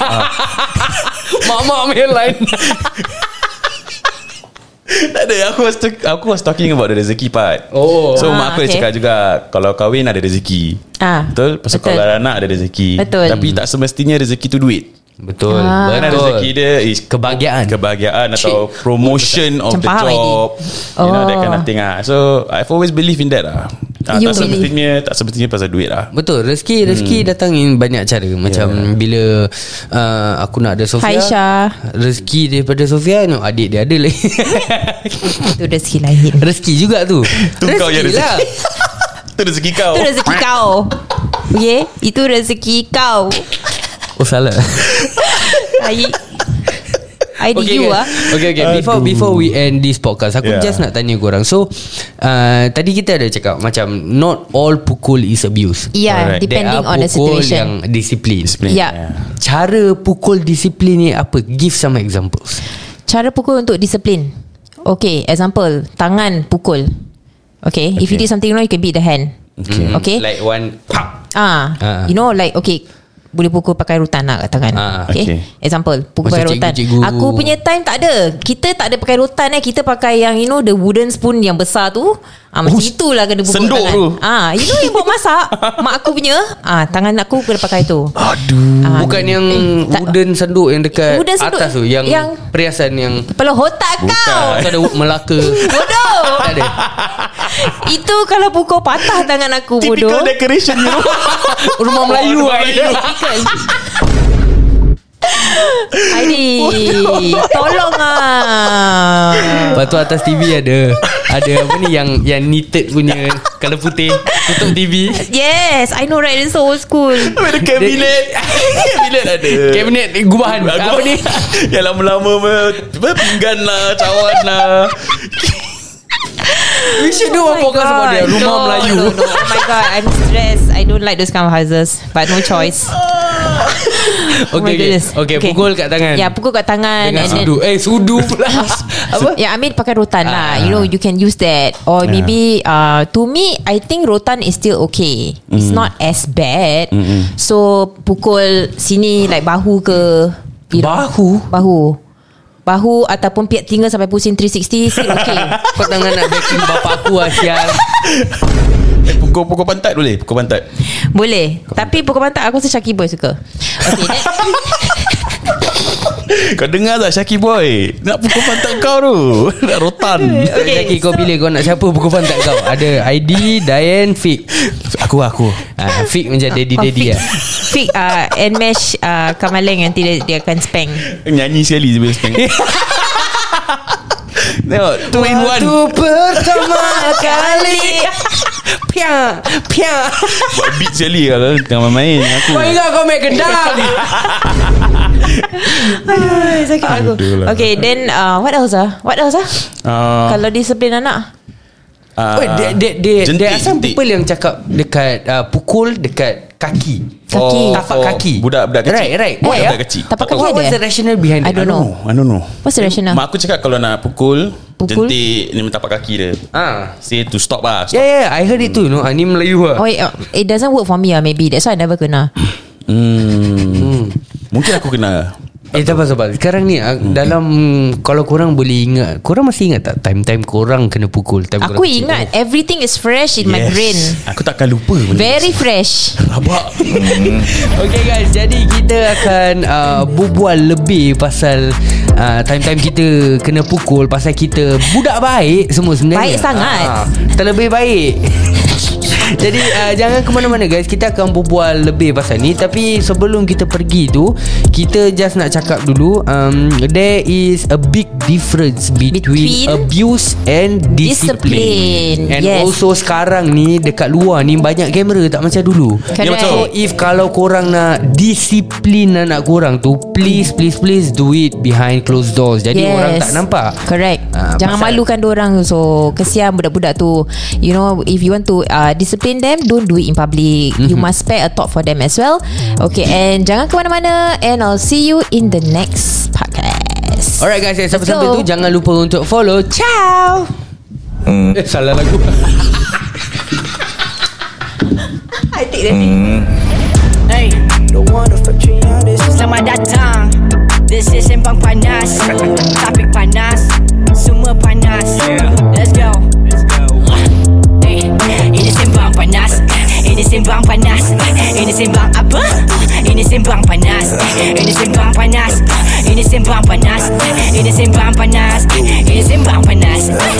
Speaker 3: Mak-mak main lain
Speaker 2: Tak ada Aku was, talk, aku was talking about The rezeki part
Speaker 3: Oh.
Speaker 2: So
Speaker 4: Ah,
Speaker 2: mak aku okay.
Speaker 4: okay.
Speaker 2: cakap juga Kalau kahwin ada rezeki
Speaker 4: Ah,
Speaker 2: Betul Pasal
Speaker 4: betul.
Speaker 2: kalau ada anak ada rezeki
Speaker 4: Betul.
Speaker 2: Tapi tak semestinya rezeki tu duit
Speaker 3: Betul
Speaker 4: Ah.
Speaker 2: Kadang
Speaker 3: Betul
Speaker 2: rezeki dia is
Speaker 3: Kebahagiaan.
Speaker 2: Kebahagiaan atau promotion of
Speaker 4: Macam
Speaker 2: the
Speaker 4: faham
Speaker 2: job.
Speaker 4: idea.
Speaker 2: You know that
Speaker 4: Oh.
Speaker 2: kind of thing ah. So I've always believe in that lah. Ah,
Speaker 4: You
Speaker 2: tak
Speaker 4: believe.
Speaker 2: semestinya tak semestinya pasal duit lah.
Speaker 3: Betul Rezeki rezeki datang in banyak cara Macam bila uh, Aku nak ada Sofia
Speaker 4: Hai, Syah.
Speaker 3: Rezeki daripada Sofia no, Adik dia ada lagi
Speaker 4: Itu rezeki lain.
Speaker 3: Rezeki juga tu
Speaker 2: Tu kau yang rezeki.
Speaker 3: lah
Speaker 2: Itu rezeki kau.
Speaker 4: Itu rezeki kau. Okay Itu rezeki kau
Speaker 3: Oh salah
Speaker 4: Tai I okay, you ah
Speaker 3: Okay okay Before
Speaker 2: Aduh.
Speaker 3: before we end this podcast Aku
Speaker 2: Yeah.
Speaker 3: yeah. just nak tanya korang So uh, Tadi kita ada cakap Macam Not all pukul is abuse
Speaker 4: Yeah
Speaker 2: Alright.
Speaker 4: Ya, Depending
Speaker 3: There are
Speaker 4: on the
Speaker 3: pukul yang
Speaker 4: situation Ya.
Speaker 3: disiplin
Speaker 2: Disiplin.
Speaker 4: Yeah.
Speaker 3: Cara pukul disiplin ni apa Give some examples
Speaker 4: Cara pukul untuk disiplin Okay Example Tangan pukul Okay, If you
Speaker 2: Okay.
Speaker 4: did something wrong You can beat the hand
Speaker 2: Okay.
Speaker 4: Okay
Speaker 3: Hmm. Like one Pop
Speaker 4: Ah,
Speaker 3: Ah.
Speaker 4: You know like Okay boleh pukul pakai rutan lah kat tangan
Speaker 3: Ah,
Speaker 4: okay.
Speaker 2: okay.
Speaker 4: Example Pukul
Speaker 3: Macam
Speaker 4: pakai rutan
Speaker 3: cikgu-cikgu.
Speaker 4: Aku punya time tak ada Kita tak ada pakai rutan eh Kita pakai yang You know the wooden spoon Yang besar tu ah, Macam
Speaker 2: Oh,
Speaker 4: itulah kena pukul
Speaker 2: senduk
Speaker 4: tangan
Speaker 2: tu.
Speaker 4: ah, You know yang buat masak Mak aku punya ah, Tangan aku kena pakai tu
Speaker 2: Aduh
Speaker 4: ah,
Speaker 3: Bukan yang
Speaker 4: tak-
Speaker 3: Wooden senduk Yang dekat
Speaker 4: Wooden senduk
Speaker 3: atas tu Yang,
Speaker 4: yang-
Speaker 3: Perhiasan yang
Speaker 4: Kepala otak kau
Speaker 3: Kau ada Melaka
Speaker 4: Bodoh
Speaker 3: Tak ada
Speaker 4: Itu kalau pukul patah tangan aku bodoh
Speaker 2: Typical decoration you know
Speaker 3: Rumah Melayu
Speaker 2: Rumah Melayu.
Speaker 4: Aidi Tolong ah
Speaker 3: Lepas tu atas TV ada Ada apa ni Yang yang knitted punya Color putih Tutup TV
Speaker 4: Yes I know right It's so old school
Speaker 2: Ada kabinet Kabinet ada
Speaker 3: Kabinet eh, gubahan
Speaker 2: Aku
Speaker 3: Apa ni
Speaker 2: Yang lama-lama ber- Berpinggan lah Cawan lah
Speaker 3: We should do one podcast about that Rumah
Speaker 4: Oh no,
Speaker 3: Melayu
Speaker 4: no, no. Oh my god I'm stressed I don't like those kind of houses But no choice Oh
Speaker 3: okay, okay.
Speaker 4: my goodness.
Speaker 3: okay pukul kat tangan
Speaker 4: Ya pukul kat tangan
Speaker 3: Dengan
Speaker 4: and then-
Speaker 3: sudu Eh sudu pula Ya, Apa
Speaker 4: Yeah, I mean pakai rotan lah.
Speaker 3: Ah.
Speaker 4: You know, you can use that. Or
Speaker 2: Yeah.
Speaker 4: maybe uh, to me, I think rotan is still okay. It's
Speaker 3: Mm.
Speaker 4: not as bad. So pukul sini like bahu ke? you know.
Speaker 3: Bahu?
Speaker 4: Bahu. Bahu ataupun piak tinggal sampai pusing 360 still okay.
Speaker 3: Kau tangan nak backing bapak aku lah Sial
Speaker 2: eh, Pukul-pukul pantat boleh Pukul pantat
Speaker 4: Boleh. Tapi pukul pantat aku rasa Chucky Boy suka. Okay, then,
Speaker 2: Kau dengar tak Syaki boy Nak pukul pantat kau tu Nak rotan
Speaker 3: okay, Zaki kau pilih Kau nak siapa pukul pantat kau Ada ID Diane Fik
Speaker 2: Aku aku
Speaker 3: ah, Fik macam daddy-daddy
Speaker 4: fix,
Speaker 3: lah
Speaker 4: fix uh, and mesh uh, kamaleng nanti dia, dia akan spank.
Speaker 2: Nyanyi sekali Sebelum spang Tengok Two in one
Speaker 3: pertama kali Pia Pia
Speaker 2: Buat beat sekali Kalau tengah main Aku
Speaker 3: Kau ingat kau main kedang
Speaker 4: Sakit aku.
Speaker 2: Aduh lah.
Speaker 4: Okay, then uh, what else ah? What else ah?
Speaker 2: uh,
Speaker 4: Kalau disiplin anak
Speaker 2: uh,
Speaker 3: Wait, there, there, there,
Speaker 2: jentik,
Speaker 3: there are some
Speaker 2: jentik.
Speaker 3: people yang cakap dekat uh, pukul dekat kaki.
Speaker 4: Kaki.
Speaker 3: Oh,
Speaker 4: Eh,
Speaker 3: tapak
Speaker 2: oh,
Speaker 3: kaki.
Speaker 2: budak-budak kecil.
Speaker 3: Right, right.
Speaker 2: Budak-
Speaker 3: Why,
Speaker 2: budak
Speaker 3: ah?
Speaker 2: kecil. Tak
Speaker 4: Tapak kaki
Speaker 3: What was
Speaker 4: ada eh?
Speaker 3: the rationale behind
Speaker 4: I
Speaker 3: it?
Speaker 4: don't know
Speaker 2: I don't know
Speaker 4: What's the rationale?
Speaker 2: Mak aku cakap Kalau nak pukul
Speaker 4: Pukul?
Speaker 2: Jentik Ni tapak kaki dia
Speaker 3: Ah.
Speaker 2: Say to stop lah
Speaker 3: Yeah,
Speaker 2: stop.
Speaker 3: yeah, I heard it too. No, ah, ni Melayu lah.
Speaker 4: Oh, it, it doesn't work for me ah maybe. That's why I never kena.
Speaker 2: Hmm. Mungkin aku kena
Speaker 3: Eh tak apa sabar Sekarang ni ah, Dalam Kalau korang boleh ingat Korang masih ingat tak Time-time korang kena pukul time korang
Speaker 4: Aku
Speaker 3: kecil?
Speaker 4: ingat everything is fresh in yes. my brain.
Speaker 2: Aku takkan lupa benda
Speaker 4: Very fresh.
Speaker 2: Rabak
Speaker 3: Okay guys Jadi kita akan uh, Berbual lebih Pasal uh, Time-time kita Kena pukul Pasal kita Budak baik Semua sebenarnya
Speaker 4: Baik sangat.
Speaker 3: Ah, Terlebih baik Jadi uh, jangan ke mana-mana guys Kita akan berbual lebih pasal ni Tapi sebelum kita pergi tu Kita just nak cakap dulu um, There is a big difference Between,
Speaker 4: Between
Speaker 3: between abuse and discipline,
Speaker 4: Discipline.
Speaker 3: And
Speaker 4: Yes.
Speaker 3: also sekarang ni Dekat luar ni Banyak kamera tak macam dulu
Speaker 2: Ya,
Speaker 4: Correct.
Speaker 2: betul.
Speaker 3: So if kalau korang nak Disiplin anak korang tu Please please please Do it behind closed doors Jadi yes. orang tak nampak
Speaker 4: Correct
Speaker 3: Ah,
Speaker 4: uh, Jangan
Speaker 3: pasal-
Speaker 4: malukan orang So kesian budak-budak tu You know If you want to uh, Discipline them Don't do it in public
Speaker 3: Mhm.
Speaker 4: mm-hmm. You must spare a thought for them as well Okay and Jangan ke mana-mana And I'll see you In the next podcast
Speaker 3: Alright guys yang
Speaker 4: Let's
Speaker 3: Sampai-sampai
Speaker 4: go.
Speaker 3: tu Jangan lupa untuk follow Ciao Eh salah lagu
Speaker 4: I take that
Speaker 6: Hey, Selamat datang This is Sembang Panas Topik panas Semua panas Let's go Hey, Ini Sembang Panas Ini Sembang Panas Ini Sembang apa? Ini Sembang Panas Ini Sembang Panas Ini Sembang Panas Ini Sembang Panas Ini Sembang Panas
Speaker 5: Ah,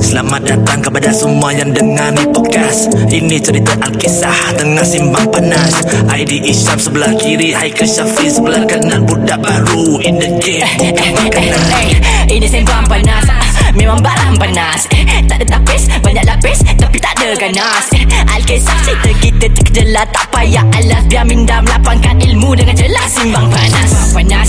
Speaker 5: Selamat datang kepada semua yang dengar ni podcast Ini cerita Alkisah tengah simbang panas ID Isyam sebelah kiri Haikal Syafiq sebelah kanan Budak baru in the game
Speaker 3: Eh,
Speaker 5: bukan makanan
Speaker 6: Hey, Ini Sembang Panas Memang barang panas Tak ada tapis Banyak lapis Tapi tak ada ganas
Speaker 1: Al Kisah cerita kita terkejelah Tak payah alas Biar minda melapangkan ilmu Dengan jelas Simbang panas Simbang panas